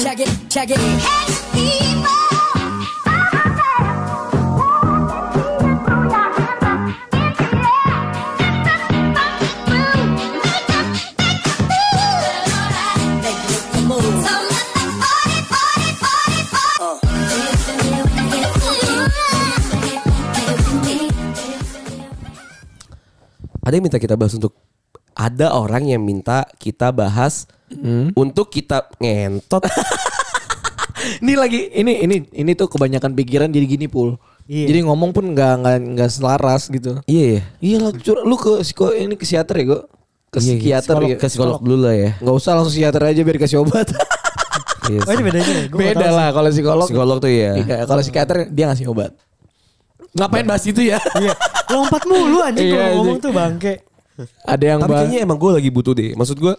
check it. Make it look move. Ada yang minta kita bahas untuk ada orang yang minta kita bahas Hmm. untuk kita ngentot. Ini lagi ini ini ini tuh kebanyakan pikiran jadi gini pul. Iya. Jadi ngomong pun nggak nggak nggak selaras gitu. Iya ya. Iya lah, cur- lu ke psiko ini ke psikiater ya gue ke Iya, psikiater psikolog, ya. ke psikolog dulu lah ya. Nggak usah langsung psikiater aja biar kasih obat. Iya Oh ini sih. bedanya ya? Gua nggak Beda tahu lah kalau psikolog. Psikolog tuh ya. Iya, kalau psikiater dia ngasih obat. Ngapain bahas itu ya? sih. Iya. Lompat mulu anjing Iya, kalau anjing. ngomong tuh bangke. Ada yang Tapi bahas- kayaknya emang gue lagi butuh deh. Maksud gue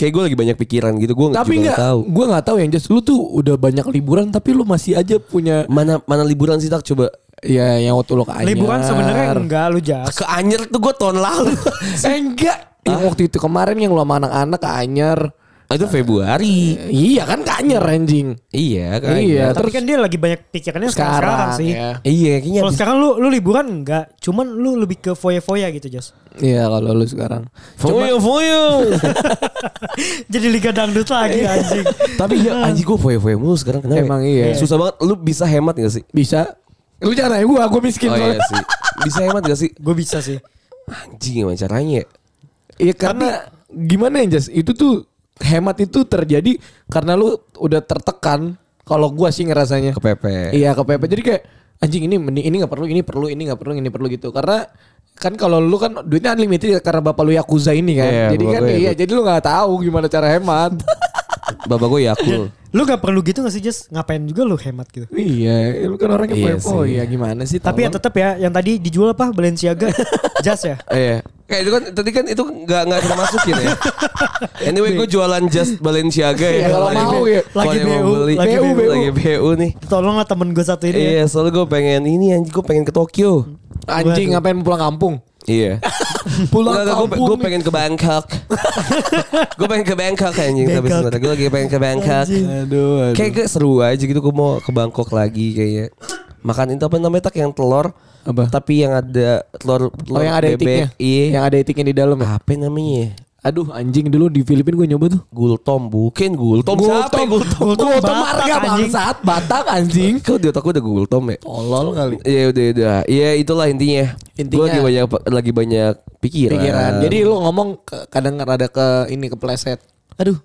kayak gue lagi banyak pikiran gitu. Gue tapi juga nggak nggak tahu. gue nggak tahu yang jelas lu tuh udah banyak liburan tapi lu masih aja punya Mana mana liburan sih tak coba ya yang waktu lu ke Anyar. Liburan sebenarnya enggak lu jas. ke Anyer tuh gue tahun lalu. Eh, enggak yang waktu itu kemarin yang lu sama anak-anak ke Anyar Ah, itu Februari. iya kan ke Anyar anjing Iya kan. Iya. Tapi terus- kan dia lagi banyak pikirannya sekarang, sekarang sekarang sih. ya Iya kayaknya Kalau abis- sekarang lu lu liburan enggak, cuman lu lebih ke foya-foya gitu, Jas. iya kalau lu sekarang Foyo foyo. Jadi liga dangdut lagi anjing. Tapi ya anjing gue foyo foyo mulu sekarang kenapa? ya? Emang iya. Susah banget. Lu bisa hemat gak sih? bisa lu jangan nanya gue gue miskin Oh iya soalnya. sih. Bisa hemat gak sih? Gue bisa sih. Anjing gimana caranya ya? Iya karena gimana ya Jas itu tuh hemat itu terjadi karena lu udah tertekan kalau gua sih ngerasanya Kepepet. Iya kepepet. Jadi kayak anjing ini mending ini nggak perlu, ini perlu, ini nggak perlu, ini perlu gitu. Karena kan kalau lu kan duitnya unlimited ya, karena bapak lu yakuza ini kan. Iya, jadi bapak kan gue iya, yakuza. jadi lu nggak tahu gimana cara hemat. Bapak ya, gue yakul. Lu gak perlu gitu gak sih Jas? Ngapain juga lu hemat gitu. iya, lu kan orangnya Iya kepo. sih. Iya, gimana sih? Tapi ya tolong. tetap ya yang tadi dijual apa Balenciaga jas ya. Iya. Kayak itu kan tadi kan itu nggak nggak kita masukin ya. Anyway gue jualan jas Balenciaga Iya, ya. kalau Lagi- mau ya. kalau Lagi yang mau BU, beli. lagi Lagi BU. Lagi BU nih. Tolonglah temen gue satu ini. ya. Iya, soalnya gue pengen ini anjing gue pengen ke Tokyo. anjing Waduh. ngapain pulang kampung? Iya. Pulang gue kampung. gue pengen ke Bangkok. gue pengen ke Bangkok anjing tapi Bangkok. sebenarnya gue lagi pengen ke Bangkok. Aduh, aduh. Kayak gue seru aja gitu gue mau ke Bangkok lagi kayaknya. Makan itu apa namanya tak yang telur Apa? tapi yang ada telur, telur Oh, yang ada etiknya. bebek. Iya. Yang ada etiknya di dalam ya. Apa namanya? Aduh, anjing dulu di Filipina gue nyoba tuh. Gultom bukan Gultom. Siapa yang Gultom? Gultom Gultom Batak, marga anjing. bangsat, Batak anjing. Kau di otak gue udah Gultom ya? Tolol kali. Iya udah udah. Iya itulah intinya. Intinya. Gue lagi banyak lagi banyak pikiran. pikiran. Jadi lu ngomong ke- kadang rada ke ini kepleset. Aduh.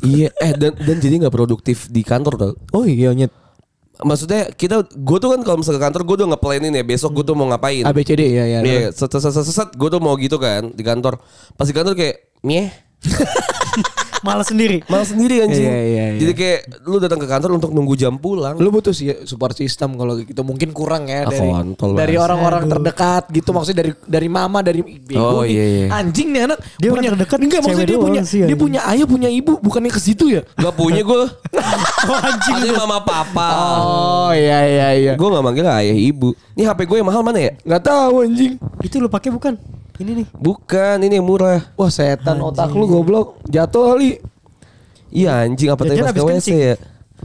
iya eh dan dan jadi nggak produktif di kantor tau. Oh iya nyet. Maksudnya kita gue tuh kan kalau misalnya ke kantor gue udah ngeplanin ya besok gue tuh mau ngapain. ABCD ya ya. Iya, set set set, set, set gue tuh mau gitu kan di kantor. Pas di kantor kayak mieh Malah sendiri. malah sendiri anjing. Iya, iya, iya. Jadi kayak lu datang ke kantor untuk nunggu jam pulang. Lu butuh sih support system kalau gitu mungkin kurang Ah, ya dari kontol dari banget. orang-orang terdekat gitu maksudnya dari dari mama dari Oh, bego nih. iya, iya. anjing nih anak Dia orang terdekat, enggak maksudnya cewek dia doang punya sih, dia anjing. punya ayah punya ibu bukannya ke situ ya Gak punya gue. Oh, anjing. Ada mama papa. oh iya iya iya Gue gak manggil ayah ibu. Ini HP gue yang mahal mana ya? nggak tahu anjing Itu lu pakai bukan? Ini nih. Bukan, ini yang murah. wah setan otak lu goblok jatuh kali Iya anjing apa tadi pas ke Jajan habis WC kencing. ya?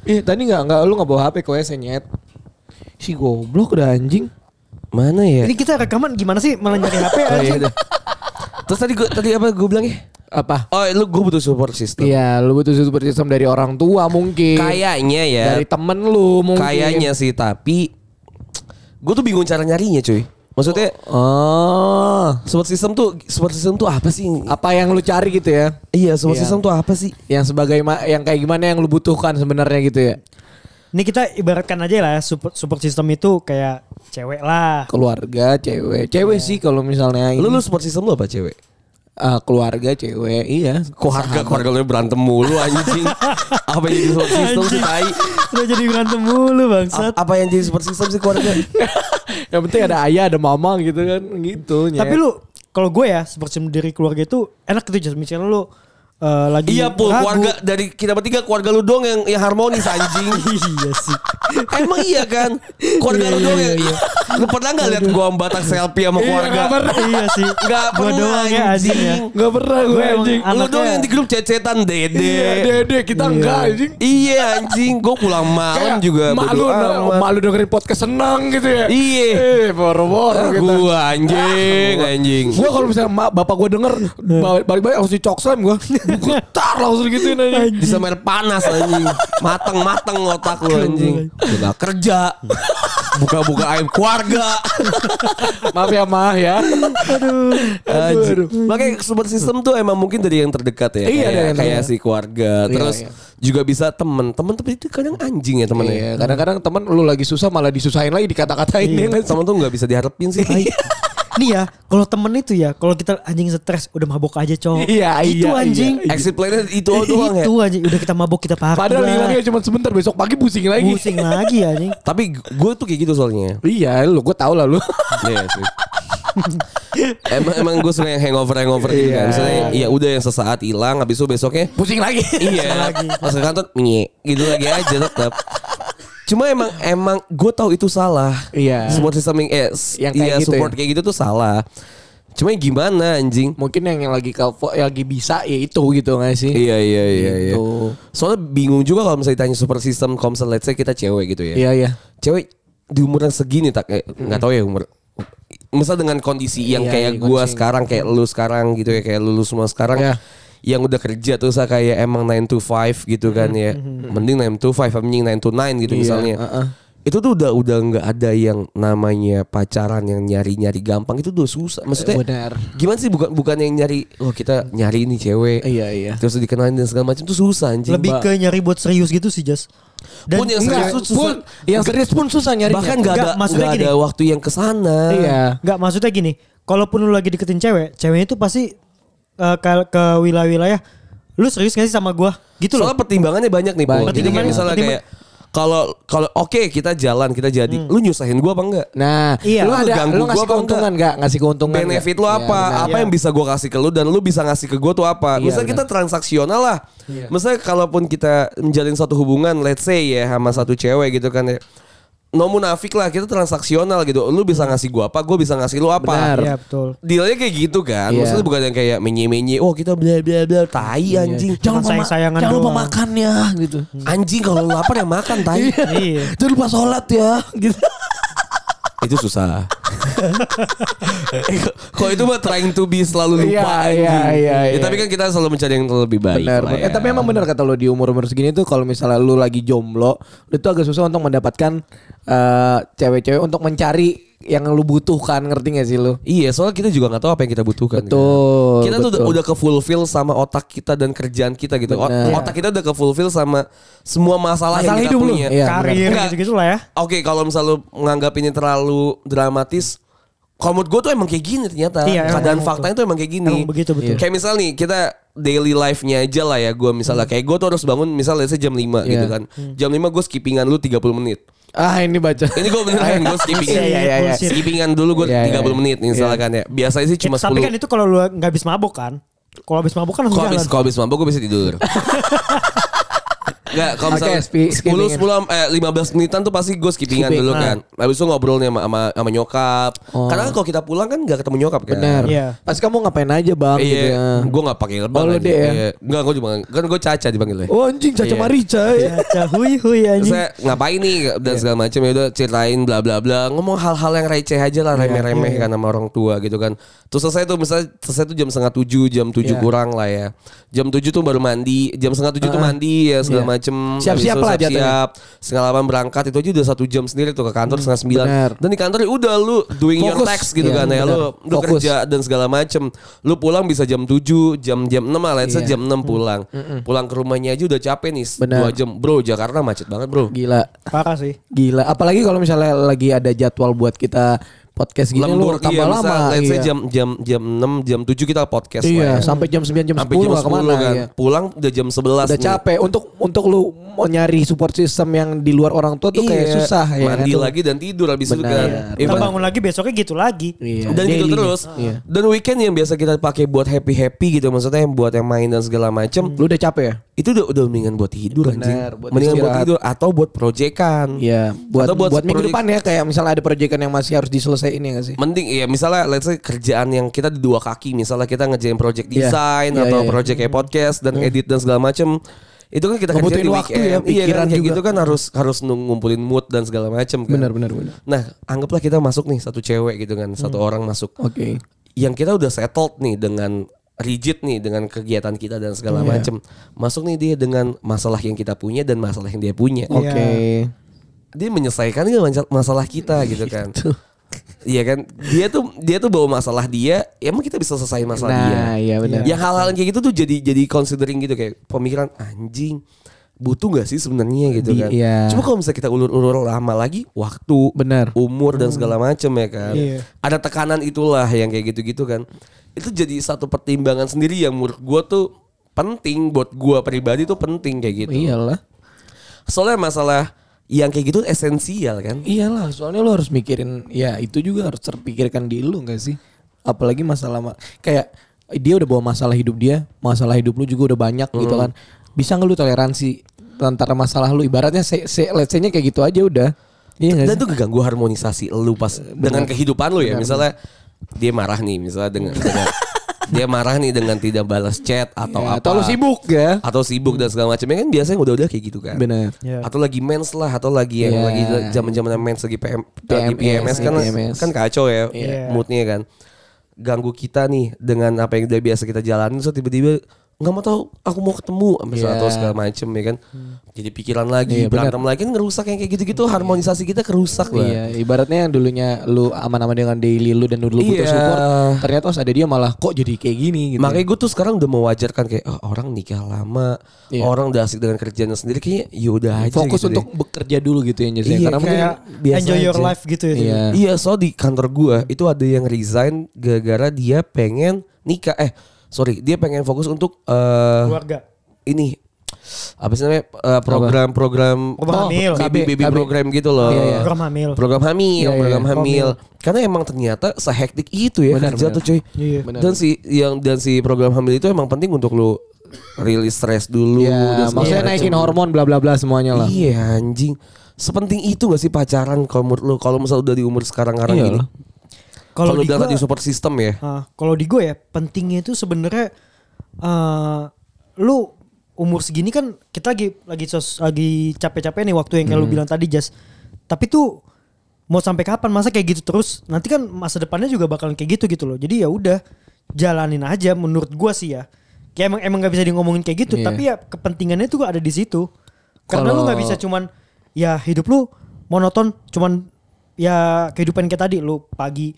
Ih, tadi nggak nggak lu nggak bawa HP ke WC nyet si goblok udah anjing Mana ya? Ini kita rekaman gimana sih malah nyari ya? HP Oh, iya anjing. udah. Terus tadi gue tadi apa gue bilang ya? apa Oh lu gue butuh support system. Iya, lu butuh support system dari orang tua mungkin. Kayaknya ya. Dari temen lu mungkin. Kayaknya sih tapi gue tuh bingung cara nyarinya cuy. Maksudnya Oh. support system tuh support system tuh apa sih? Apa yang lu cari gitu ya? iya support Iya. system tuh apa sih? Yang sebagai ma- yang kayak gimana yang lu butuhkan sebenarnya gitu ya? Ini kita ibaratkan aja lah ya, support, support system itu kayak cewek lah. Keluarga, cewek. Cewek sih kalau misalnya ini. Lu lu support system lu apa cewek? Ah, keluarga, cewek. Iya. Keluarga keluarga lu berantem mulu anjing. apa yang jadi support system sih tai? Udah jadi berantem mulu A- bangsat. Apa yang jadi support system sih keluarga? yang penting ada ayah, ada mama gitu kan gitu. Nyet. Tapi lu kalau gue ya support system dari keluarga itu enak gitu Jas. Misalnya lu eh, lagi Iya pul ragu. keluarga dari kita bertiga keluarga lu dong yang yang harmonis anjing. iya sih. Emang iya kan? Keluarga lu doang ya. Lu pernah gak liat gua batak selfie sama keluarga? nggak pernah. iya sih. Gak Gua pernah doang ya anjing ya. Gak pernah gue Gue emang anjing. an- Lu Anaknya- doang yang di grup cecetan Iya, dede. dede kita enggak anjing. Iya anjing, gua pulang malam Kayak juga. mak bodo lu, amat. mak lu dengerin podcast senang gitu ya. Iya. Eh, boro-boro kita. Gua anjing, anjing. Gue kalau misalnya mak bapak gue denger ba- balik-balik langsung cokslam gue. Gue tar langsung gituin anjing. Bisa main panas anjing. Mateng-mateng otak lu anjing. Udah kerja. Buka-buka aib keluarga. Maaf ya mah ya. Anjing. Makanya support system tuh emang mungkin dari yang terdekat ya. Iya, dari kayak, yang kayak terdekat. si keluarga. Iya, Terus iya. juga bisa temen. Temen tapi itu kadang anjing ya temen Iya, ya. kadang-kadang teman lu lagi susah malah disusahin lagi dikata-katain ya nggak sih? Iya. Temen tuh nggak bisa diharapin sih. Nih ya, kalau temen itu ya, kalau kita anjing stres udah mabok aja, cowok. Iya, Itu iya, anjing. iya. Exit plan itu doang ya. Itu anjing udah kita mabok kita parah. Padahal hilangnya cuma sebentar besok pagi pusing lagi. pusing lagi anjing. Tapi gue tuh kayak gitu soalnya. Iya, lu gue tau lah lu. Iya sih. emang emang gue suka yang hangover hangover gitu kan. Iya. Misalnya ya udah yang sesaat hilang habis itu besoknya Pusing lagi. iya pas ke kantor nye gitu lagi aja tetap cuma emang emang gue tahu itu salah Iya. support system yang eh, s- Yang kayak iya gitu support ya? kayak gitu tuh salah cuma ya gimana anjing Mungkin yang yang lagi kalvo, yang lagi bisa ya itu gitu nggak sih? Iya iya iya iya. Gitu. Soalnya bingung juga kalau misalnya ditanya support system komsel let's say kita cewek gitu ya. Iya, iya. Cewek di umuran segini tak kayak nggak tahu ya umur. Masa dengan kondisi yang Iya, kayak iya, gua kondisi. sekarang kayak lu sekarang gitu ya kayak lu, lu semua sekarang Iya. yang udah kerja tuh saya kayak emang 9 to 5 gitu kan ya. Mending 9 to 5 mending 9 to 9 gitu Iya, misalnya. uh-uh. Itu tuh udah udah nggak ada yang namanya pacaran yang nyari-nyari gampang itu udah susah. Maksudnya Benar. gimana sih bukan bukan yang nyari oh kita nyari ini cewek Iya, iya. terus dikenalin dan segala macam tuh susah anjing Lebih Ba- ke nyari buat serius gitu sih, Jas. Pun yang Enggak, serius tuh susah. pun yang serius pun susah nyarinya. bahkan nggak ada Enggak, maksudnya nggak gini. ada waktu yang kesana Iya. Enggak maksudnya gini, kalaupun lu lagi deketin cewek, ceweknya itu pasti eh, ke, ke wilayah-wilayah lu serius gak sih sama gua? Gitu loh. soalnya pertimbangannya banyak nih Bo. jadi kayak Banyak. Pertimbangan- misalnya kayak pertimbang- kalau kalau oke kita jalan kita jadi Hmm. lu nyusahin gua apa enggak Nah, Iya. lu ada Ganggu lu gua ngasih apa keuntungan enggak? Ngasih keuntungan nggak? benefit lu Iya, apa benar. apa yang bisa gua kasih ke lu dan lu bisa ngasih ke gua tuh apa Iya, misalnya kita transaksional lah misalnya kalaupun kita menjalin satu hubungan let's say ya sama satu cewek gitu kan ya no munafik lah kita transaksional gitu lu bisa ngasih gua apa gua bisa ngasih lu apa Gitu. Benar. Iya, betul. Dealnya kayak gitu kan Iya. Maksudnya bukan yang kayak menye-menye Oh kita bla bla bla Tai anjing Jangan lupa, sayang-sayangan jangan lupa doang. makan ya gitu. Hmm. Anjing kalau lu lapar yang makan tai Iya. Jangan lupa sholat ya gitu. Itu susah Eh, Kalau itu mah trying to be selalu Iya, lupa iya, anjing. Ya, iya, iya. Tapi kan kita selalu mencari yang lebih baik Benar. lah Eh ya. tapi emang benar kata lo di umur umur segini tuh kalau misalnya lu lagi jomblo, lu tuh agak susah untuk mendapatkan eh, cewek-cewek untuk mencari yang lu butuhkan, ngerti gak sih lu? Iya soalnya kita juga gak tahu apa yang kita butuhkan kan. Betul, Kita tuh udah, betul. udah ke fulfill sama otak kita dan kerjaan kita gitu O- Benar. Otak kita udah ke fulfill sama semua masalah, Masalah yang kita hidup lu. punya Iya, Karir benar. gitu-gitu lah ya. Oke kalau misalnya lu menganggap ini terlalu dramatis Kalau menurut gue tuh emang kayak gini ternyata Iya, emang Keadaan begitu. faktanya tuh emang kayak gini Emang begitu, betul. Iya. Kayak misal nih kita daily life-nya aja lah ya Gue misalnya kayak gue tuh harus bangun misalnya saya jam 5 gitu Hmm. Iya. kan Hmm. Jam 5 gue skippingan lu 30 menit Ah ini baca. Ini gue beneran gue skippingan Iya, iya, iya, iya. Skippingan dulu gue Iya, 30 iya, iya. menit nih misalnya kan ya Biasanya sih cuma Eh, Tapi kan 10 itu kalau lu nggak habis mabok kan. Kalau habis mabok kan langsung Kalau habis, jalan. kalau habis mabuk gue bisa tidur Enggak, kalau Oke, misalnya spi- 10, skippingin. 10, eh, 15 menitan tuh pasti gue skippingan Skipping, nah. Oh. dulu ah. kan Habis itu ngobrolnya sama, sama, sama nyokap Karena kan kalau kita pulang kan gak ketemu nyokap kan Benar. Iya. Pas kamu ngapain aja bang? Iya, Gitu, ya. gue gak pakai lebang Oh, lu anjing. deh ya? Iya. Enggak, gue cuma, kan gue caca dipanggilnya Oh anjing caca Iya. marica ya. Caca hui hui anjing. saya ngapain nih Iya. dan segala macam ya udah ceritain bla bla bla ngomong hal-hal yang receh aja Iya, lah remeh-remeh kan sama orang tua gitu kan terus selesai tuh misalnya selesai tuh jam setengah tujuh jam tujuh Iya. kurang lah ya jam tujuh tuh baru mandi jam setengah tujuh tuh mandi ya segala macem Iya. Siap-siap lah siap siap setengah delapan berangkat itu aja udah satu jam sendiri tuh ke kantor setengah sembilan benar. dan di kantor ya udah lu doing your Fokus. tax gitu Iya, kan ya benar. lu lu Fokus. kerja dan segala macem lu pulang bisa jam tujuh jam jam enam lah let's say Iya. jam enam pulang pulang ke rumahnya aja udah capek nih Benar. dua jam bro Jakarta macet banget bro Gila. Parah sih. Gila, apalagi kalau misalnya lagi ada jadwal buat kita podcast gini lu lembur tambah iya, lama. misal, let's say iya. jam jam jam 6 jam 7 kita podcast Iya, lah ya. sampai jam 9 jam 10 sampai jam 10 kemana kan. iya. Pulang udah jam 11 Udah nih. capek untuk untuk lu mau nyari support system yang di luar orang tua tuh kayak Iya, susah ya. Mandi kan? lagi dan tidur habis itu Benar. kan. Kita Even- bangun lagi besoknya gitu lagi. Iya. dan gitu daily. terus. Iya. Dan weekend yang biasa kita pakai buat happy happy gitu, maksudnya yang buat yang main dan segala macem, Lu udah capek ya? itu udah udah mendingan buat tidur Benar, anjing. buat mendingan buat istirahat. tidur atau buat proyekan. Iya, buat Atau buat, buat proyek- minggu depan ya kayak misalnya ada proyekan yang masih harus diselesaiin ya gak sih? Mending ya misalnya let's say kerjaan yang kita di dua kaki, misalnya kita ngejain project Iya. desain Iya, atau iya, iya. project kayak podcast dan edit dan segala macem itu kan kita kerjain Ngebutuhin di waktu weekend. ya, iya pikiran kan kayak juga. gitu kan harus harus nung- ngumpulin mood dan segala macem kan. Benar, benar, benar. Nah, anggaplah kita masuk nih satu cewek gitu kan, satu Hmm. orang masuk. Oke. yang kita udah settled nih dengan rigid nih dengan kegiatan kita dan segala Iya. macem masuk nih dia dengan masalah yang kita punya dan masalah yang dia punya Oke. dia menyelesaikan nggak masa- masalah kita gitu kan iya kan dia tuh dia tuh bawa masalah dia ya emang kita bisa selesaiin masalah dia Nah, iya benar. yang hal-hal kayak gitu tuh jadi jadi considering gitu kayak pemikiran anjing butuh nggak sih sebenarnya gitu Di- kan iya. cuma kalau misalnya kita ulur-ulur lama lagi waktu Benar. Hmm. umur dan segala macem ya kan Iya. ada tekanan itulah yang kayak gitu-gitu kan itu jadi satu pertimbangan sendiri yang menurut gue tuh penting buat gue pribadi tuh penting kayak gitu Iyalah. soalnya masalah yang kayak gitu esensial kan Iyalah, soalnya lu harus mikirin ya itu juga harus terpikirkan di lu gak sih? Apalagi masalah ma- kayak dia udah bawa masalah hidup dia, masalah hidup lu juga udah banyak gitu kan. Bisa nggak lu toleransi antara masalah lu ibaratnya se, se let's say-nya kayak gitu aja udah. Iya nggak dan sih? itu keganggu harmonisasi lu pas dengan kehidupan lu ya misalnya dia marah nih misalnya dengan, dengan- dia marah nih dengan tidak balas chat atau apa Ya, atau lu sibuk ya. atau sibuk dan segala macamnya kan biasanya udah-udah kayak gitu kan Benar. Iya. atau lagi mens lah atau lagi yang Iya. lagi zaman-zaman mens lagi PM, lagi PMS, PMS kan PMS. kan kacau ya Iya. moodnya kan ganggu kita nih dengan apa yang udah biasa kita jalanin so tiba-tiba nggak mau tahu aku mau ketemu misalnya Iya. Hmm. atau segala macem ya kan jadi pikiran lagi Iya, benar. berantem lagi kan ngerusak yang kayak gitu-gitu harmonisasi kita kerusak lah Iya, ibaratnya yang dulunya lu aman-aman dengan daily lu dan lu butuh Iya. support, ternyata pas ada dia malah kok jadi kayak gini gitu. Makanya gue tuh sekarang udah mewajarkan kayak "Ah, orang nikah lama, Iya. orang udah asik dengan kerjaannya sendiri kayaknya ya udah aja fokus gitu deh." untuk bekerja dulu gitu ya Jess, ya. Iya, Karena mungkin Kayak biasa enjoy your aja. life gitu ya. Iya. Iya, so di kantor gua itu ada yang resign gara-gara dia pengen nikah. Eh, sorry, dia pengen fokus untuk eh, Keluarga. ini apa sih namanya eh, Oh, program-program Oh, Program hamil. baby baby KB. program gitu loh. Iya, iya. Program hamil. Program hamil, Iya, iya, program iya. hamil. Karena emang ternyata sehektik itu ya Benar, kerja benar. tuh cuy. Iya. Benar. Dan si yang dan si program hamil itu emang penting untuk lu rilis stres dulu dan ya, segala maksudnya macam. naikin hormon bla bla bla semuanya lah. Iya anjing. Sepenting itu gak sih pacaran kalau menurut lu kalau misal udah di umur sekarang-karang Iya gini? lah. Kalau Kalau lu di bilang gua, tadi support system ya. ah, kalau di gue ya pentingnya itu sebenarnya eh lu umur segini kan kita lagi lagi sos, lagi capek-capek nih waktu yang kayak lu bilang tadi Jas. Tapi tuh mau sampai kapan masa kayak gitu terus? Nanti kan masa depannya juga bakalan kayak gitu gitu loh. Jadi ya udah jalanin aja menurut gua sih ya. Kayak emang emang nggak bisa di ngomongin kayak gitu, Iya. tapi ya kepentingannya tuh ada di situ. Karena lu Kalau- nggak bisa cuman ya hidup lu monoton cuman ya kehidupan kayak tadi lu pagi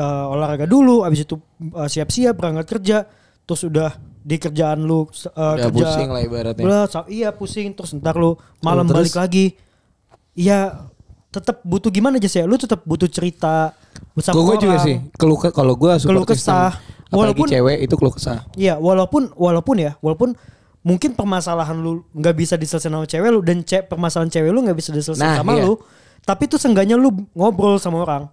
uh, olahraga dulu habis itu uh, siap-siap berangkat kerja terus udah di kerjaan lu uh, Udah kerja pusing lah ibaratnya. Udah, sa- iya pusing terus ntar lu Oh, malam terus? balik lagi iya tetap butuh gimana aja sih lu tetap butuh cerita bersama Gue juga orang. sih. Keluh ke- kalau gue support Keluh kesah. system, apalagi Walaupun- cewek itu keluh kesah. Iya, walaupun walaupun ya, walaupun mungkin permasalahan lu nggak bisa diselesaikan sama cewek lu dan ce permasalahan cewek lu nggak bisa diselesaikan Nah, sama iya. lu, tapi tuh seenggaknya lu ngobrol sama orang.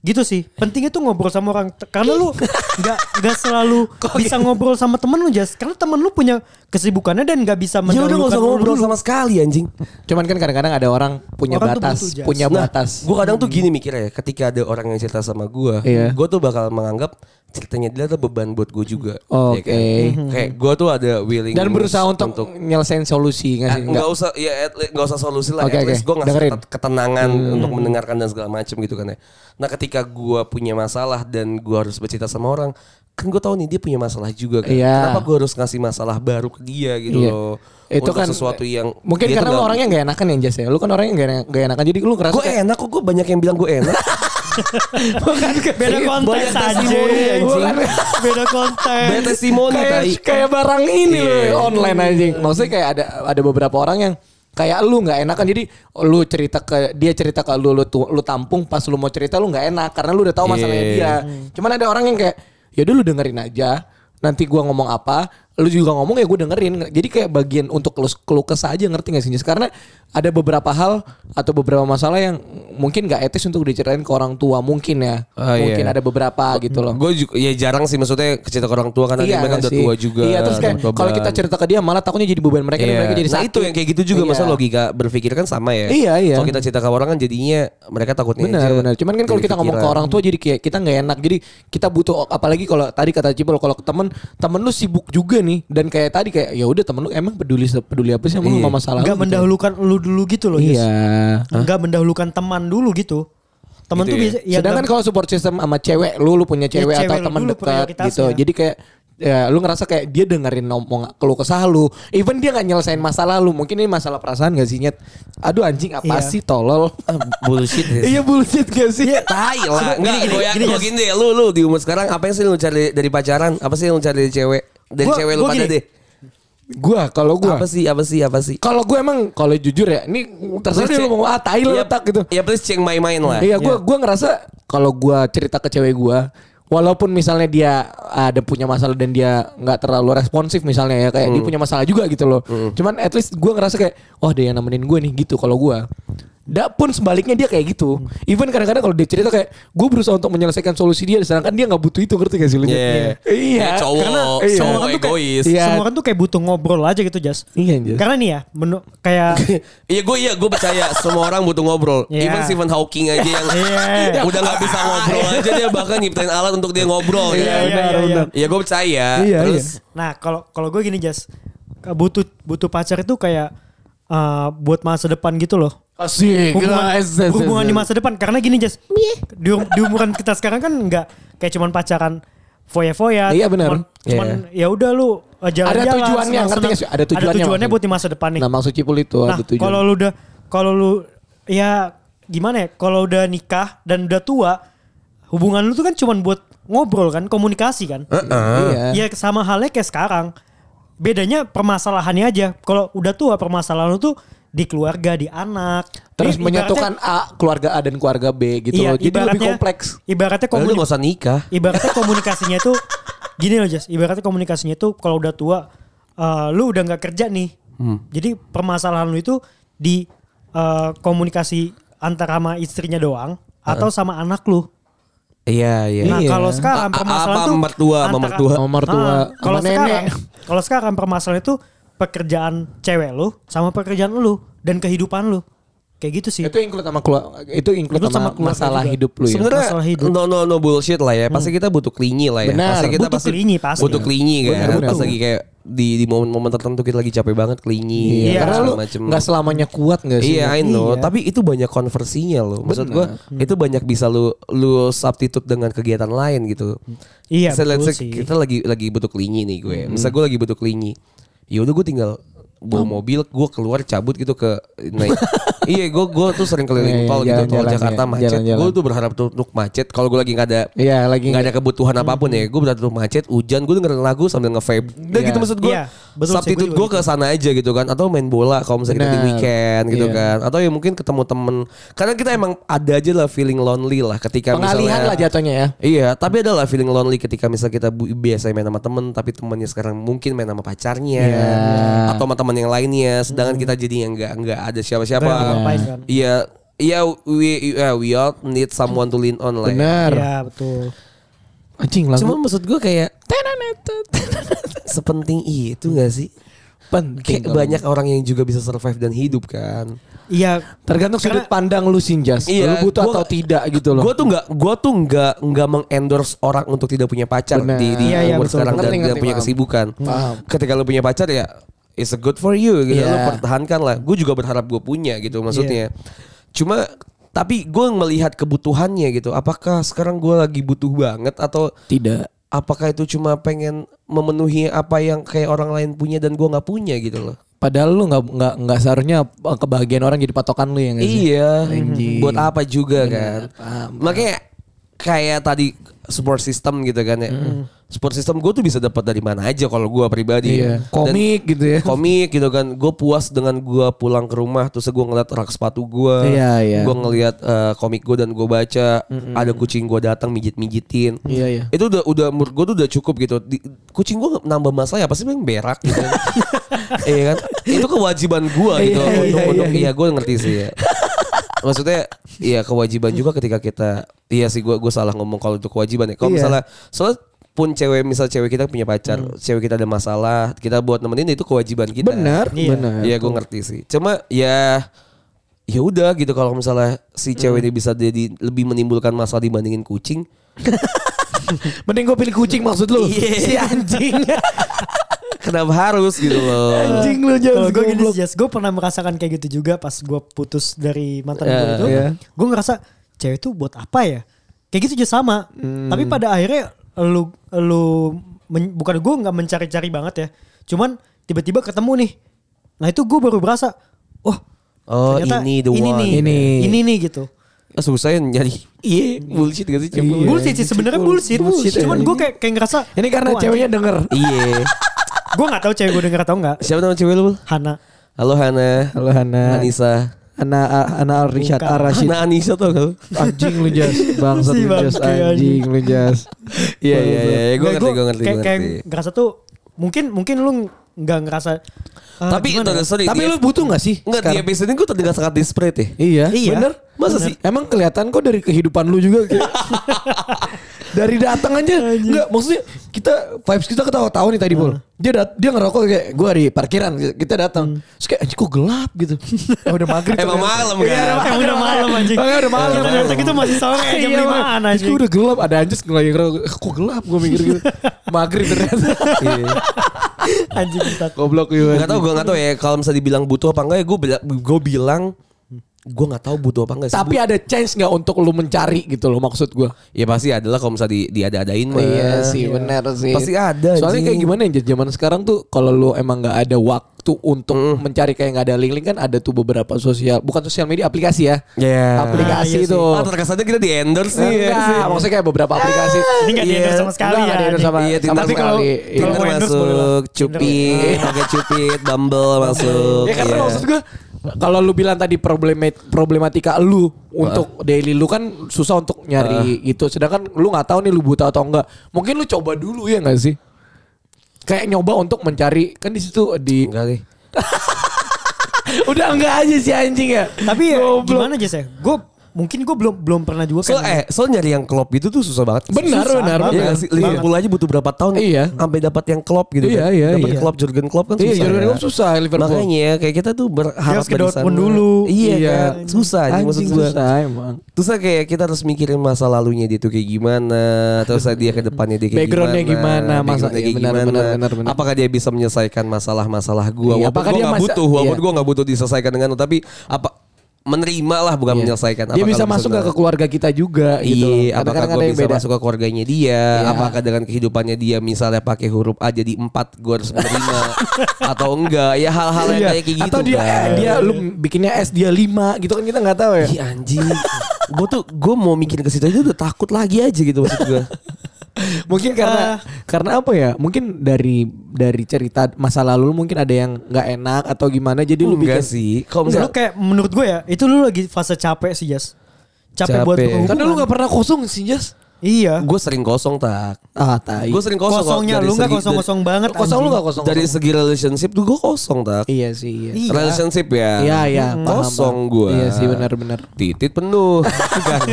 Gitu sih. Pentingnya tuh ngobrol sama orang T- karena lu nggak nggak selalu bisa ngobrol sama temen lu Jas. Karena temen lu punya kesibukannya dan nggak bisa Ya udah gak usah mendahulukan lu ngobrol dulu. sama sekali anjing. Cuman kan kadang-kadang ada orang punya Orang tuh batas, butuh jas. punya Nah, batas. gue kadang tuh gini mikirnya ya, ketika ada orang yang cerita sama gue, Iya. gue tuh bakal menganggap ceritanya dia tuh beban buat gue juga. Oke. Mhm. kan? Kayak gue tuh ada willing Iya, Dan berusaha untuk, nyelesain solusi nggak Eh, sih? nggak usah ya at least, nggak usah solusi lah Oke, at least gue oke. ngasih Dengerin. Hmm. ket- ketenangan untuk mendengarkan dan segala macam gitu kan ya nah ketika gue punya masalah dan gue harus bercerita sama orang kan gue tahu nih dia punya masalah juga kan Iya. kenapa gue harus ngasih masalah baru ke dia gitu Iya. loh Itu untuk kan sesuatu yang Mungkin dia tuh karena lu nggak- orangnya gak enakan ya Jas ya. Lu kan orangnya gak, enak, gak enakan. Jadi lu ngerasa gue kayak- enak kok gue banyak yang bilang gue enak Bukan kayak- Beda konteks aja. Bukan. kan Beda konteks. banyak testimoni kayak tai kayak barang ini Iya. loh online anjing. Maksudnya kayak ada ada beberapa orang yang kayak lu nggak enak kan jadi lu cerita ke dia cerita ke lu lu, tu- lu tampung pas lu mau cerita lu nggak enak karena lu udah tahu masalahnya Iya. dia. Cuman ada orang yang kayak ya udah lu dengerin aja. Nanti gua ngomong apa, lu juga ngomong ya gue dengerin. Jadi kayak bagian untuk lu keluh kesah aja ngerti gak sih? Jis? Karena ada beberapa hal atau beberapa masalah yang mungkin gak etis untuk diceritain ke orang tua mungkin ya. Ah, iya. mungkin ada beberapa gitu loh. Gue juga ya jarang sih maksudnya cerita ke orang tua kan, karena dia mereka Iya udah gak Iya sih? tua juga. Iya terus kayak udah tua kalau kita banget. cerita ke dia malah takutnya jadi beban mereka dan Iya. mereka jadi Nah sakit. itu yang kayak gitu juga masa Iya. logika berpikir kan sama ya. Iya, iya. Kalau kita cerita ke orang kan jadinya mereka takutnya Benar, aja benar. Cuman kan kalau Iya. jadi kita ngomong ke pikiran. orang tua jadi kayak kita nggak enak. Jadi kita butuh apalagi kalau tadi kata Cipul kalau ke temen temen lu sibuk juga nih dan kayak tadi kayak ya udah temen lu emang peduli peduli apa Iya. sih sama lu sama masalah Nggak lu gitu. mendahulukan lu dulu gitu loh. Jess. Iya. Nggak mendahulukan teman dulu gitu. Teman Gitu tuh ya. bisa ya Sedangkan nggak- kalau support system sama cewek lu lu punya cewek Iya, cewek atau lu teman dulu dekat gitu. prioritasnya. Jadi kayak ya lu ngerasa kayak dia dengerin ngomong keluh kesah lu. Even dia nggak nyelesain masalah lu. Mungkin ini masalah perasaan gak sih Nyet? Aduh anjing apa Iya. sih tolol. Bullshit. ya. Iya bullshit gak sih? Tai lah. Gini, Enggak, gini, gue yakin gini, gua Jas. gini deh. Lu, lu di umur sekarang apa yang sih lu cari dari pacaran? Apa sih yang lu cari dari cewek? Dari Gua- cewek lu gua pada gini. deh. Gua kalau gua Apa sih, apa sih, apa sih? Kalau gue emang kalau jujur ya, ini terserah Please dia check- lu mau ah tai lu Ya, letak gitu. Ya please ceng main-main lah. Iya, gue gua ngerasa kalau gue cerita ke cewek gue, walaupun misalnya dia ada punya masalah dan dia nggak terlalu responsif misalnya ya kayak Hmm. dia punya masalah juga gitu loh. Cuman at least gue ngerasa kayak wah dia yang nemenin gue nih gitu kalau gue. Dak pun sebaliknya dia kayak gitu. Hmm. Even kadang-kadang kalau dia cerita kayak gue berusaha untuk menyelesaikan solusi dia, sedangkan dia nggak butuh itu ngerti gak sih lu? Iya. Dia Iya. cowok, iya. cowok Semua kan tuh kayak- egois. Iya. Semua kan tuh kayak butuh ngobrol aja gitu, Jas. Iya, Jas. Karena nih ya, menu- kayak Iya gue iya gue percaya semua orang butuh ngobrol. Iya. Even Stephen Hawking aja yang Iya. udah nggak bisa ngobrol aja dia bahkan nyiptain alat untuk dia ngobrol. Iya, kan? benar, iya, iya. benar. Iya gue percaya. Iya, Terus Nah kalau kalau gue gini Jas, Ke- butuh butuh pacar itu kayak eh, buat masa depan gitu loh. Asik. Hubungan, Yes, yes, yes, hubungan di yes. masa depan karena gini Jas, di, um- di umuran kita sekarang kan nggak kayak cuman pacaran foya-foya. Iya, benar. Iya. Cuman, cuman ya udah lu eh, jalan-jalan. Ada tujuannya, ngerti nggak sih? Ada senang-senang. tujuannya Ada tujuannya maksudnya. buat di masa depan nih. Nah maksud Cipul itu Nah ada tujuan. kalau lu udah kalau lu ya gimana ya kalau udah nikah dan udah tua hubungan lu tuh kan cuman buat ngobrol kan komunikasi kan. ah, iya. Ya sama halnya kayak sekarang. Bedanya permasalahannya aja. Kalau udah tua permasalahan lu tuh di keluarga, di anak. Terus Ini menyatukan A ibaratnya- keluarga A dan keluarga B gitu iya, loh. Jadi lebih ibaratnya- kompleks. Ibaratnya Padahal komuni- lu gak usah nikah. ibaratnya komunikasinya tuh gini loh Jas, ibaratnya komunikasinya tuh kalau udah tua eh, lu udah nggak kerja nih. Hmm. Jadi permasalahan lu itu di eh, komunikasi antara sama istrinya doang atau sama anak lu. Iya iya. Nah, Iya. kalau sekarang A- a- permasalahan apa tuh mertua, sama antara- mertua? Sama mertua, Ah, kalau sama nenek. sekarang kalau sekarang permasalahan itu pekerjaan cewek lu sama pekerjaan lu dan kehidupan lu. Kayak gitu sih. Itu include sama keluarga, itu include Include sama, sama keluarga masalah juga. hidup lu ya. Sebenarnya Masalah hidup. no no no bullshit lah ya. Pasti kita butuh klingi lah ya. Hmm. Benar. Pasti kita Butuh klingi pasti. Butuh klingi kan. Benar, benar. Pas lagi kayak di di momen-momen tertentu kita lagi capek banget klingi. Iya, Iya. karena segala lu macem. nggak selamanya kuat nggak sih? Iya, I know. Tapi itu banyak konversinya loh. Maksud gua Hmm. itu banyak bisa lu lu substitute dengan kegiatan lain gitu. Iya, Misal, betul let's say sih. Kita lagi lagi butuh klingi nih gue. Hmm. Misal gue lagi butuh klingi. Ya udah gue tinggal bawa mobil, gue keluar cabut gitu ke naik. iya, gue gue tuh sering Iya, keliling iya, tol gitu. Tol jalan-jalan, Jakarta iya, macet. jalan-jalan. Gue tuh berharap tuh untuk macet. Kalau gue lagi nggak ada Iya, lagi nggak ada kebutuhan apapun ya. Gue berharap tuh macet, hujan, gue dengerin lagu sambil nge-vape. Udah Iya. gitu maksud gue. Iya, betul sih, substitute gue gue ke juga sana aja gitu kan atau main bola kalau misalnya kita di Benar. weekend gitu Iya. kan kan atau ya mungkin ketemu temen karena kita emang ada aja lah feeling lonely lah ketika Pengalihan misalnya lah jatuhnya ya. Iya, tapi ada lah feeling lonely ketika misalnya kita bu- biasa main sama temen, tapi temannya sekarang mungkin main sama pacarnya Iya. atau sama teman yang lainnya, sedangkan kita jadi yang nggak nggak ada siapa-siapa. Nggak ada ngapain kan. Iya, iya we ya, we all need someone to lean on lah. Ya. Benar. Iya, betul. Anjing lagu Cuma maksud gue kayak sepenting itu gak sih? penting. Kayak banyak orang yang juga bisa survive dan hidup kan. Iya, Tergantung sudut pandang lu sinjas. Iya, lu butuh gua- atau tidak gitu loh. Gue tuh nggak, gue tuh nggak nggak mengendorse orang untuk tidak punya pacar Benar. di, di Iya, iya, umur betul, sekarang betul. dan Ngerti, tidak ngerti, punya paham. kesibukan. Paham. Ketika lu punya pacar ya, it's a good for you. Gitu. Lu Iya. pertahankan lah. Gue juga berharap gue punya gitu maksudnya. Cuma tapi gue melihat kebutuhannya gitu. Apakah sekarang gue lagi butuh banget atau tidak. apakah itu cuma pengen memenuhi apa yang kayak orang lain punya dan gue nggak punya gitu loh. Padahal lu nggak nggak nggak seharusnya eh, kebahagiaan orang jadi patokan lu ya nggak sih? Iya, Anjing. buat apa juga kan? paham, Makanya kayak tadi support system gitu kan ya. Hmm. Support system gue tuh bisa dapat dari mana aja kalau gue pribadi. Iya. Dan- Komik gitu ya. Komik gitu kan. Gue puas dengan gue pulang ke rumah terus gue ngeliat rak sepatu gue. Iya, iya. Hmm. Gue ngeliat eh, komik gue dan gue baca. Ada kucing gue datang mijit-mijitin. Iya, iya. Itu udah udah menurut gue tuh udah cukup gitu. Di- kucing gue nambah masalah ya, apa sih yang berak gitu. iya kan? Itu kewajiban gue gitu. Iya, iya, untuk, iya, untuk- iya. iya, gue ngerti sih ya. Maksudnya iya kewajiban juga ketika kita iya sih gue gue salah ngomong kalau itu kewajiban ya. Kalau Iya. misalnya soalnya pun cewek misal cewek kita punya pacar, cewek kita ada masalah, kita buat nemenin itu kewajiban kita. Benar, Iya. benar. Iya gue ngerti sih. Cuma ya ya udah gitu kalau misalnya si cewek ini bisa jadi lebih menimbulkan masalah dibandingin kucing. Mending gue pilih kucing maksud lu. Iya. Si anjing. Kenapa harus gitu loh. anjing lu jangan Kalau gue gini goblok. sih gue pernah merasakan kayak gitu juga pas gue putus dari mantan gue Iya, itu. iya. Gue ngerasa cewek itu buat apa ya? Kayak gitu juga sama. Hmm. Tapi pada akhirnya lu lu men- bukan gue nggak mencari-cari banget ya. Cuman tiba-tiba ketemu nih. Nah itu gue baru berasa, oh Oh, ternyata ini the one. nih, Ini. ini. nih gitu. Ah, susah ya nyari. Iya, bullshit gak sih Iya. bullshit sih sebenarnya bullshit. Bullshit, Cuman anjing. gue kayak kayak ngerasa Ini karena ceweknya denger. Iya. gue nggak tahu cewek gue denger atau enggak. Siapa nama cewek lu? Bul? Hana. Halo Hana. Halo Hana. Anissa. Ana Ana Al Rishad Bukan. Al Rashid. Hana Anissa tau gak? lu? Anjing lu jas, bangsat Si lu jas, bangke, anjing lu jas. Iya iya iya, gue Nggak, ngerti gua gue ngerti Kayak, gue kayak ngerti. ngerasa tuh mungkin mungkin lu nggak ngerasa. ah, Tapi gimana itu ya? sorry. iya. Tapi di- lu butuh gak sih? Enggak di sekarang? episode ini gue terdengar sangat desperate ya. Iya, Iya. bener. Masa Bener. sih? Emang kelihatan kok dari kehidupan lu juga. kayak- dari datang aja. Enggak, maksudnya kita vibes kita ketawa-tawa nih tadi, Bol. Dia dat- dia ngerokok kayak gua di parkiran, kita datang. Terus kayak anjing kok gelap gitu. Eh, udah maghrib. Emang ternyata. malam Iya, kan. emang udah malam anjing. Makanya udah malam. Iya, Ternyata kita masih sore jam Iya, Bang. 5-an Terus anjing. gua udah gelap, ada anjing ngelayang ngerokok. Eh, Kok gelap gua mikir gitu. Maghrib ternyata. Iya. Anjing kita. Goblok gitu. Gak tau gue gak tau ya kalau misalnya dibilang butuh apa enggak ya gue gue bilang gue nggak tahu butuh apa enggak sih. Tapi ada chance nggak untuk lu mencari gitu loh maksud gua. ya pasti adalah kalau misalnya di, diada-adain mah. Iya sih benar sih. Pasti ada, Soalnya anjing. kayak gimana ya zaman sekarang tuh kalau lu emang nggak ada waktu untuk mencari kayak nggak ada link-link kan ada tuh beberapa sosial bukan sosial media aplikasi ya. Iya. Aplikasi Ah, iya sih. Iya tuh. Ah terkesannya kita di endorse sih. ya Enggak, sih. maksudnya kayak beberapa aplikasi. Ini nggak Iya. diendorse sama sekali Enggak, ya. nggak diendorse anjing. sama- Iya Tinder, Tapi kalau- sekali. kalau Tinder mau endorse boleh lah. masuk, Tinder. cupid, pakai cupid, bumble masuk. Ya karena Iya. maksud gue kalau lu bilang tadi problemet problematika lu untuk daily lu kan susah untuk nyari gitu. Sedangkan lu nggak tahu nih lu buta atau enggak. Mungkin lu coba dulu ya enggak sih? Kayak nyoba untuk mencari kan di situ di Enggak sih. udah enggak aja sih anjing ya. Tapi ya, Goblok. gimana aja sih? Gue mungkin gue belum belum pernah juga So eh kayak- so nyari yang klop itu tuh susah banget. Kan Benar, Susah benar, banget. Iya benar. nggak sih? Liverpool aja butuh berapa tahun Iya. sampai dapat yang Klopp gitu Iya, kan. iya, dapat iya. Klopp Jurgen Klopp kan Iya, susah. Jurgen ya. Klopp susah, Liverpool. Makanya ya, kayak kita tuh berharap Dia harus ke dari Dortmund sana. dulu. Iya, Iya. kan? susah anjing, maksud Anjing gua. susah emang. Terus ya kayak kita harus mikirin masa lalunya dia tuh kayak gimana, terus dia ke depannya dia kayak Backgroundnya gimana, masa- backgroundnya iya, kayak benar, gimana. benar, benar, benar. Apakah dia bisa menyelesaikan masalah-masalah gua? walaupun Iya, apakah gua dia nggak masa- butuh, walaupun iya. gua nggak butuh diselesaikan dengan lu, tapi apa menerima lah bukan Iya. menyelesaikan. Dia Apakah bisa lu masuk nggak ke menerima? keluarga kita juga Iya, gitu. loh. apakah Kadang-kadang gue ada yang bisa masuk ke keluarganya dia? Iya. Apakah dengan kehidupannya dia misalnya pakai huruf A jadi 4 gue harus menerima atau enggak? Ya hal-hal yang Iya. kayak gitu Atau dia kan. Iya, dia lu bikinnya S dia 5 gitu kan kita nggak tahu ya. Ih, anjing. gue tuh gue mau mikirin ke situ aja udah takut lagi aja gitu maksud gue. mungkin karena karena apa ya? Mungkin dari dari cerita masa lalu lu mungkin ada yang nggak enak atau gimana jadi lu Enggak bikin sih. Kalau Enggak, misalnya lu kayak menurut gue ya itu lu lagi fase capek sih Jas. Capek, Capek. buat berhubungan. Karena lu nggak pernah kosong sih Jas. Iya. gue sering kosong tak. Ah, tai. Gue sering kosong. Kosongnya Dari lu nggak segi- kosong-kosong banget. Kosong lu anjing. nggak kosong. dari- Dari segi relationship tuh gue kosong tak. Iya sih, iya. Iya. Relationship ya. Iya, iya, Hmm. paham, Kosong paham. gue. Iya sih, benar-benar. Titit penuh.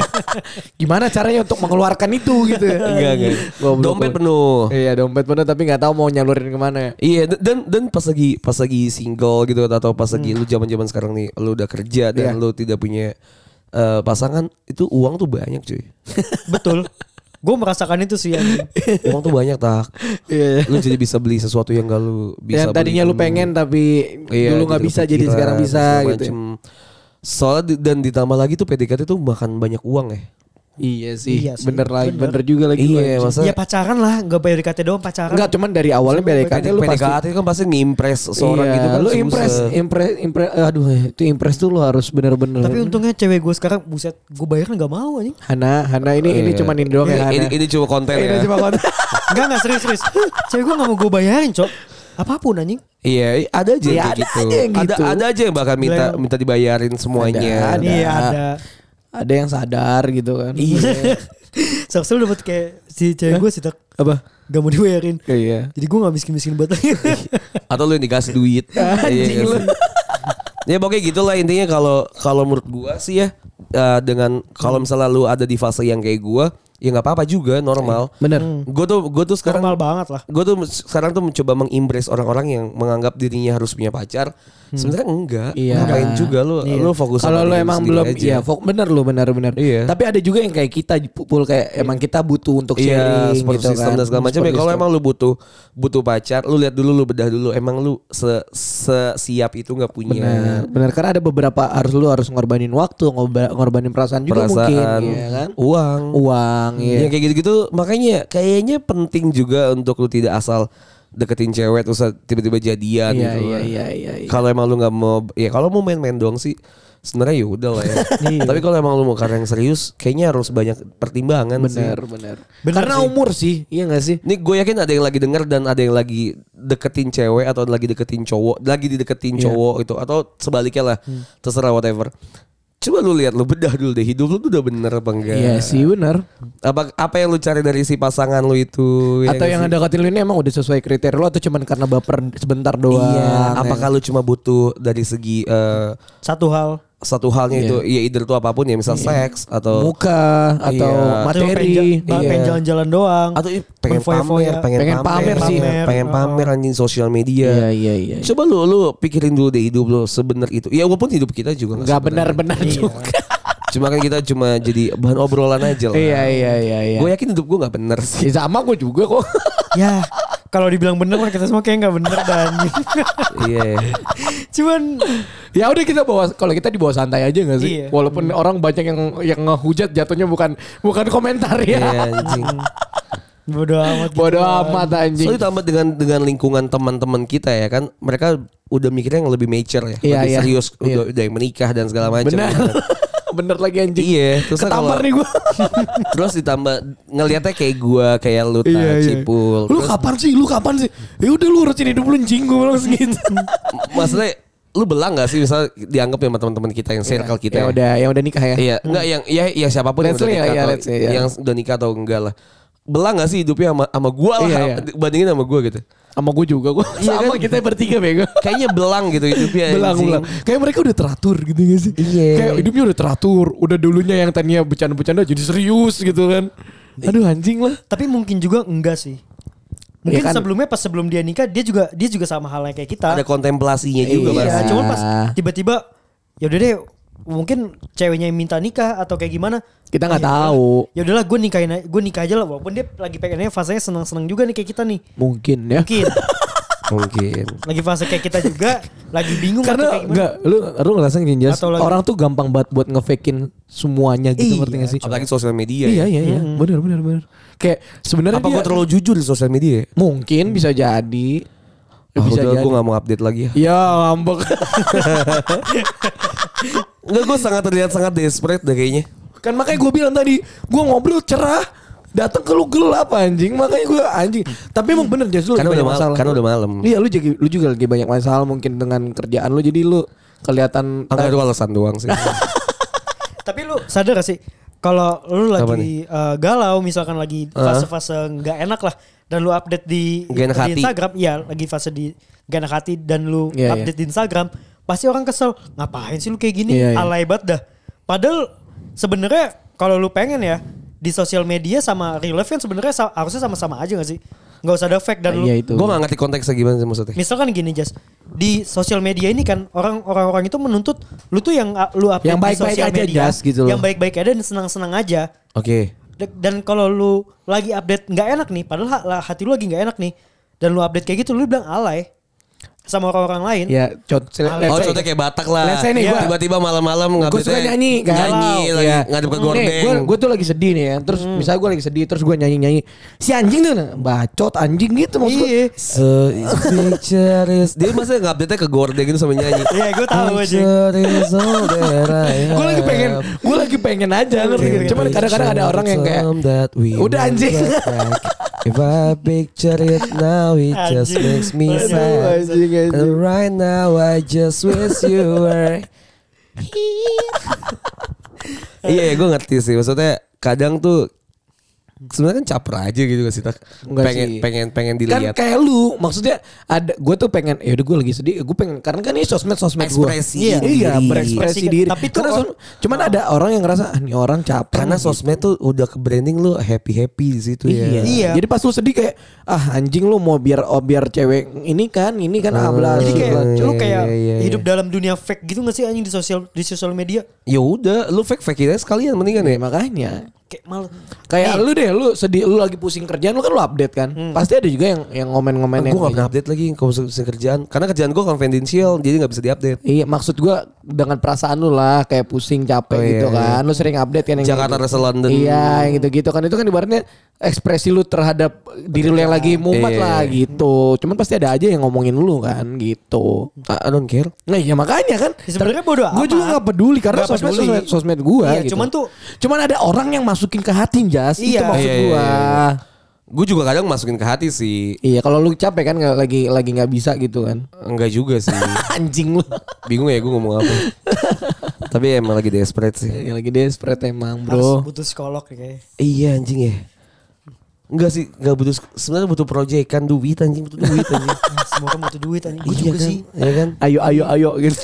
Gimana caranya untuk mengeluarkan itu gitu ya? enggak enggak. Goblok. Dompet penuh. Iya dompet penuh tapi nggak tahu mau nyalurin kemana ya. Iya dan- dan dan pas lagi pas lagi single gitu atau pas lagi lu zaman-zaman sekarang nih lu udah kerja dan Hmm. Iya. lu tidak punya eh, pasangan itu uang tuh banyak cuy. Betul. Gue merasakan itu sih anjing. Uang tuh banyak tak. Iya. Lu jadi bisa beli sesuatu yang gak lu bisa Yang Ya, tadinya beli lu dulu. pengen tapi Iya, dulu gitu, nggak bisa jadi kepikiran, sekarang bisa segala gitu. ya. macem. Soalnya di- dan ditambah lagi tuh PDKT tuh makan banyak uang ya. Iya sih. Iya sih, Bener lagi, bener. bener juga lagi. lu, Iya, anjing. masa Ya pacaran lah, nggak PDKT doang pacaran. Enggak cuman dari awalnya BDKT lu pasti PDKT kan pasti ngimpress seorang Iya, gitu kan. Lu susah. impress, impress, impress. Aduh, itu impress tuh lu harus bener-bener. Tapi untungnya cewek gue sekarang buset, gue bayarnya nggak mau anjing. Hana, Hana ini ini Iya. cuman ini doang Ini- ya. ini, Hana. ini cuma konten Ini ya. cuma konten. Enggak enggak serius serius. Cewek gue nggak mau gue bayarin cok. Apapun anjing. Iya, ada aja Iya, yang kayak ada gitu. aja yang Ada gitu. ada aja yang bakal minta minta dibayarin semuanya. Ada. Iya ada. Ada yang sadar gitu kan. Iya. Sampai lu dapet kayak si cewek gue sih tak Apa? nggak mau dibayarin. Iya. Jadi gue gak miskin-miskin banget lagi. Atau lu yang dikasih duit. Iya, Anjing lu. kan? Ya pokoknya gitulah intinya kalau kalau menurut gua sih ya eh, dengan Hmm. kalau misalnya lu ada di fase yang kayak gua ya nggak apa-apa juga normal. Eh, Bener. Gue tuh gue tuh sekarang Normal banget lah. gue tuh sekarang tuh mencoba mengimpress orang-orang yang menganggap dirinya harus punya pacar. Sebenarnya enggak. Hmm. Iya. Ngapain juga lu lu fokus sama Kalau lu diri emang sendiri belum aja. iya, fok bener lu bener-bener. Iya. Tapi ada juga yang kayak kita pul kayak emang kita butuh untuk Iya, sharing support gitu system kan. dan segala macam. Ya Support kalau system. emang lu butuh butuh pacar, lu lihat dulu lu bedah dulu emang lu se, se- siap itu nggak punya. Benar, benar Iya, karena ada beberapa harus lu harus ngorbanin waktu, ngorba- ngorbanin perasaan juga Perasaan, mungkin, ya kan? uang. Uang, Ya iya. kayak gitu-gitu makanya kayaknya penting juga untuk lu tidak asal deketin cewek terus tiba-tiba jadian Iya, gitu. iya, kan. iya, iya, iya. Kalau emang lu nggak mau ya kalau mau main-main doang sih sebenarnya ya udah lah ya. Iya. Tapi kalau emang lu mau karya yang serius kayaknya harus banyak pertimbangan sih. Benar, benar. Karena umur sih, iya gak sih? Ini gue yakin ada yang lagi denger dan ada yang lagi deketin cewek atau lagi deketin cowok, lagi dideketin Iya. cowok gitu atau sebaliknya lah, Hmm. terserah whatever. Coba lu lihat lu bedah dulu deh hidup lu tuh udah bener apa enggak? Iya sih, benar. Apa apa yang lu cari dari si pasangan lu itu? ya nggak atau yang sih? ada deketin lu ini emang udah sesuai kriteria lu atau cuman karena baper sebentar doang? Iya. Apakah lu cuma butuh dari segi eh, Satu hal. satu halnya itu ya either itu apapun ya misal seks atau Iya. muka atau Iya. materi? Pengen, ja- iya. pengen jalan-jalan doang. atau ih, pengen Berfoya-foya. pamer, pengen, Pengen pamer sih. Oh. pengen pamer anjing sosial media. Iya, iya, iya. Coba lu lu pikirin dulu deh hidup lu sebener itu. Ya walaupun hidup kita juga nggak Gak sebener. benar-benar juga. Cuma kan kita cuma jadi bahan obrolan aja lah. Iya, iya, iya, iya. Gue yakin hidup gue nggak bener sih. Ya, sama gue juga kok. ya kalau dibilang bener lah kita semua kayak nggak bener dan Iya. cuman ya udah kita bawa kalau kita dibawa santai aja gak sih? Iya. Walaupun orang banyak yang yang ngehujat jatuhnya bukan bukan komentar Iya ya. anjing. bodo amat gitu Bodoh lah. amat anjing. Soalnya tambah dengan dengan lingkungan teman-teman kita ya kan, mereka udah mikirnya yang lebih mature ya, Iya, lebih iya. serius, Iya. udah, udah yang menikah dan segala macam. gitu kan. Benar. Bener lagi anjing. Iya, terus kan Ketampar kalau- nih gue. Terus ditambah ngelihatnya kayak gua, kayak lu Ta, Nah, cipul. Iya, Lu Terus kapan sih? Lu kapan sih? Ya udah lu urusin hidup lu anjing gue bilang segitu. m- maksudnya lu belang gak sih misalnya dianggap sama teman-teman kita yang circle kita? ya ya? udah, yang udah nikah ya. Iya, enggak yang ya ya siapapun Let's say, nikah iya, atau- let's say, iya. yang udah nikah atau enggak lah. Belang gak sih hidupnya sama sama gua lah Iya, iya. bandingin sama gua gitu. Sama gue juga gue. Iya Sama kan? kita bertiga bego. Kayaknya belang gitu hidupnya. Belang anjing. belang. Kayak mereka udah teratur gitu gak sih? Iya. Kayak hidupnya udah teratur. Udah dulunya yang tadinya bercanda-bercanda jadi serius gitu kan. Aduh anjing lah. tapi mungkin juga enggak sih mungkin Iya kan? sebelumnya pas sebelum dia nikah dia juga dia juga sama halnya kayak kita Ada kontemplasinya juga Iya. pasti. ya, cuman pas tiba-tiba ya udah deh mungkin ceweknya yang minta nikah atau kayak gimana Kita nggak tahu. ya udahlah gue nikahin gue nikah aja lah walaupun dia lagi pengennya fasenya senang-senang juga nih kayak kita nih Mungkin ya. mungkin Mungkin. lagi fase kayak kita juga lagi bingung atau Karena kayak gimana. enggak lu lu ngerasa gini Jas, Atau lagi- orang tuh gampang banget buat ngefakein semuanya gitu Iya, ngerti gak sih? Apalagi sosial media. Iya ya. iya iya. Benar benar benar. Kayak sebenarnya Apa dia- gua terlalu jujur di sosial media? ya? Mungkin bisa jadi. Ah, Ya, bisa udah, jadi. gue gak mau update lagi ya. Ya ngambek. Enggak, gue sangat terlihat sangat desperate deh kayaknya. kan makanya gue bilang tadi, gue ngobrol cerah, datang ke lu gelap anjing. Makanya gue anjing. Tapi emang bener jadi lu Karena lagi udah banyak malam. Karena udah malam. Iya lu jadi lu juga lagi banyak masalah mungkin dengan kerjaan lu jadi lu kelihatan eh, Enggak itu alasan doang sih. Gitu. Tapi lu sadar gak sih kalau lu Apa lagi eh, galau misalkan Eh. lagi fase-fase nggak enak lah dan lu update di, Nggak enak di hati. Instagram, iya lagi fase di gak enak hati dan lu Iya, iya. update di Instagram, pasti orang kesel. Ngapain sih lu kayak gini? Iya, iya. Alay banget dah. Padahal sebenarnya kalau lu pengen ya di sosial media sama real life kan sebenarnya sa- harusnya sama-sama aja gak sih? Nggak usah ada fake dan lu Iya itu. gue gak ngerti konteksnya gimana sih maksudnya. Misalkan gini Jas, di sosial media ini kan orang orang orang itu menuntut lu tuh yang uh, lu update Yang di baik-baik sosial aja, media, Jas, gitu loh. yang baik-baik aja dan senang-senang aja. Oke. D- Dan kalau lu lagi update nggak enak nih, padahal ha- lah hati lu lagi nggak enak nih, dan lu update kayak gitu, lu bilang alay. sama orang-orang lain. Ya, contoh Oh contohnya kayak Batak lah Iya. Let's say nih, gua- Tiba-tiba malam-malam gue suka ngupdate-nya nyanyi kan Nyanyi lagi Ngadep ke Hmm. gorden gue tuh lagi sedih nih ya terus misalnya gue lagi sedih terus gue nyanyi nyanyi si anjing tuh nah, bacot anjing gitu maksud gue Iya. So it's picture is- Dia masa ngupdate-nya ke gorden gitu sama nyanyi Iya, gue tahu aja. Picture is all that I gue lagi have. pengen gue lagi pengen aja ngerti Iya, nggak? cuman kadang-kadang ada orang yang kayak kan Some that we udah will anjing get back. If I picture it now It just Anjing. makes me Aduh, sad anjing, anjing. And right now I just wish you were here. Iya gue ngerti sih Maksudnya kadang tuh sebenarnya kan caper aja gitu kan sih tak Enggak pengen sih. pengen pengen kan dilihat kayak lu maksudnya ada gue tuh pengen ya udah gue lagi sedih gue pengen karena kan ini sosmed sosmed gue Ekspresi iya, diri. iya berekspresi Ekspresi, diri tapi tuh Karena so- or- cuman ada orang yang ngerasa ah, ini orang capek karena nih, sosmed tuh udah ke branding lu happy happy di situ Iya. ya Iya. Jadi pas lu sedih kayak ah anjing lu mau biar oh, biar cewek ini kan ini kan ah bla Jadi kayak Iya, lu iya, kayak iya, iya. Ya, hidup dalam dunia fake gitu gak sih anjing di sosial di sosial media? ya udah lu fake fake aja sekalian mendingan ya Ya, makanya Kayak malah kayak lu deh lu sedih lu lagi pusing kerjaan lu kan lu update kan. Hmm. Pasti ada juga yang yang gitu. ngomen-ngomen gue yang gak pernah update lagi kalau urusan kerjaan karena kerjaan gue konfidensial jadi gak bisa diupdate Iya maksud gua dengan perasaan lu lah kayak pusing capek Oh, iya, gitu iya. kan. Lu sering update kan yang Jakarta gitu. versus London. Iya yang gitu-gitu kan itu kan ibaratnya ekspresi lu terhadap diri lu yang lagi Iya. mumet lah gitu. Cuman pasti ada aja yang ngomongin lu kan gitu. I, I don't care Nah iya makanya kan Ya, sebenarnya bodo Gue amat. juga gak peduli Karena Nggak sosmed, peduli. sosmed sosmed gue Iya, gitu cuman tuh- Cuman ada orang yang masukin ke hati Jas Itu Iya. maksud Iya, gue iya, Iya, iya. gue juga kadang masukin ke hati sih kalau lu capek kan nggak- lagi lagi nggak bisa gitu kan enggak juga sih Anjing lu bingung ya gue ngomong apa tapi emang lagi desperate sih Ya, Lagi desperate emang harus bro butuh psikolog nih kayaknya. iya anjing ya Enggak sih, enggak butuh sebenarnya butuh proyekan duit anjing, butuh duit anjing. Ah, Semua orang butuh duit anjing. Gue Iya juga kan? sih. Iya kan? Ayo ayo ayo gitu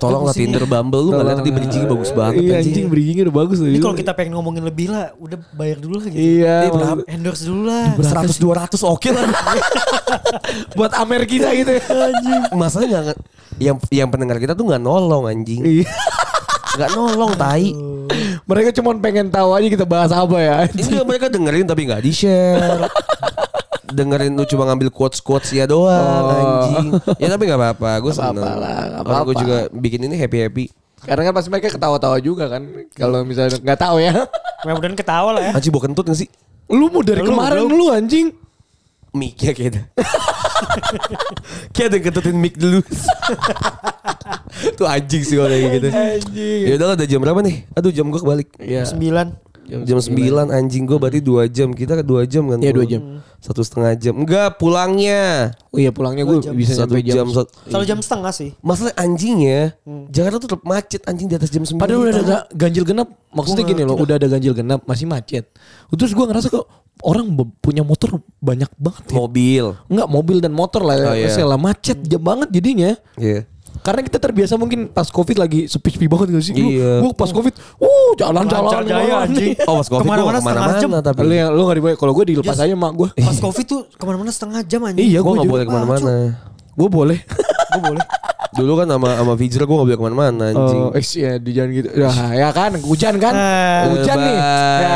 Tolong lah Tinder Bumble lu nggak lihat tadi bridging bagus banget Iya anjing. anjing bridgingnya udah bagus Ini Iya. gitu. kalau kita pengen ngomongin lebih lah, udah bayar dulu lah gitu. Iya Ini berapa? maksud- Endorse dulu lah. 100 200 oke lah. Buat Amer kita gitu ya Masalahnya nggak yang yang pendengar kita tuh nggak nolong anjing. Iya. Nggak nolong tai. Mereka cuma pengen tahu aja kita bahas apa ya Ini juga mereka dengerin tapi nggak di share. dengerin lu cuma ngambil quotes quotes ya doang Oh. anjing. Ya tapi nggak apa-apa, gue Nggak seneng. apa-apa lah, nggak Orang gue apa-apa. juga bikin ini happy happy. Karena kan pasti mereka ketawa-tawa juga kan Kalau misalnya nggak tahu ya Mudah-mudahan ketawa lah ya. Anjing bawa kentut nggak sih? Lu mau dari Lu, kemarin bro. lu anjing. Mic-nya kayaknya. ya, gitu. kayak ada yang kentutin mic dulu. tuh anjing sih kalau kayak gitu. Anjing. Ya udahlah udah jam berapa nih? Aduh jam gue kebalik. Iya. Sembilan. Jam 9 anjing gue berarti 2 jam. Kita ke 2 jam kan? Iya, pulang. dua jam. Satu setengah jam. Enggak pulangnya. Oh iya pulangnya gue bisa Satu sampai jam. Iya. jam. Hmm. sat- Selalu jam setengah sih. Masalah anjingnya, Jakarta tuh tetap macet anjing di atas jam 9. Padahal udah ada ga- ganjil genap. Maksudnya gini loh, udah ada ganjil genap masih macet. Terus gue ngerasa kok orang be- punya motor banyak banget ya. mobil. Enggak mobil dan motor Oh, lah, iya. ya lah macet jam banget jadinya. Iya. Karena kita terbiasa mungkin pas covid lagi sepi-sepi banget gak sih? Dulu Iya. Gua pas covid, uh jalan-jalan. Lancar jaya, anjing. Oh, pas Covid gua Kemana-mana setengah kemana-mana jam. tapi. Iya. Lu yang lu gak dibayar. Kalau gue dilepas Yes. aja mak gue. Pas covid tuh kemana-mana setengah jam anjing. Iya Gue gue gak boleh kemana-mana. Gue boleh. Gue boleh. Dulu kan sama sama Fijra Eh, iya, gue gak boleh kemana-mana anjing. Oh, eh, ya, di jangan gitu. Ya, ya kan, Nah, hujan kan? Eh, hujan nih. bye. Ya,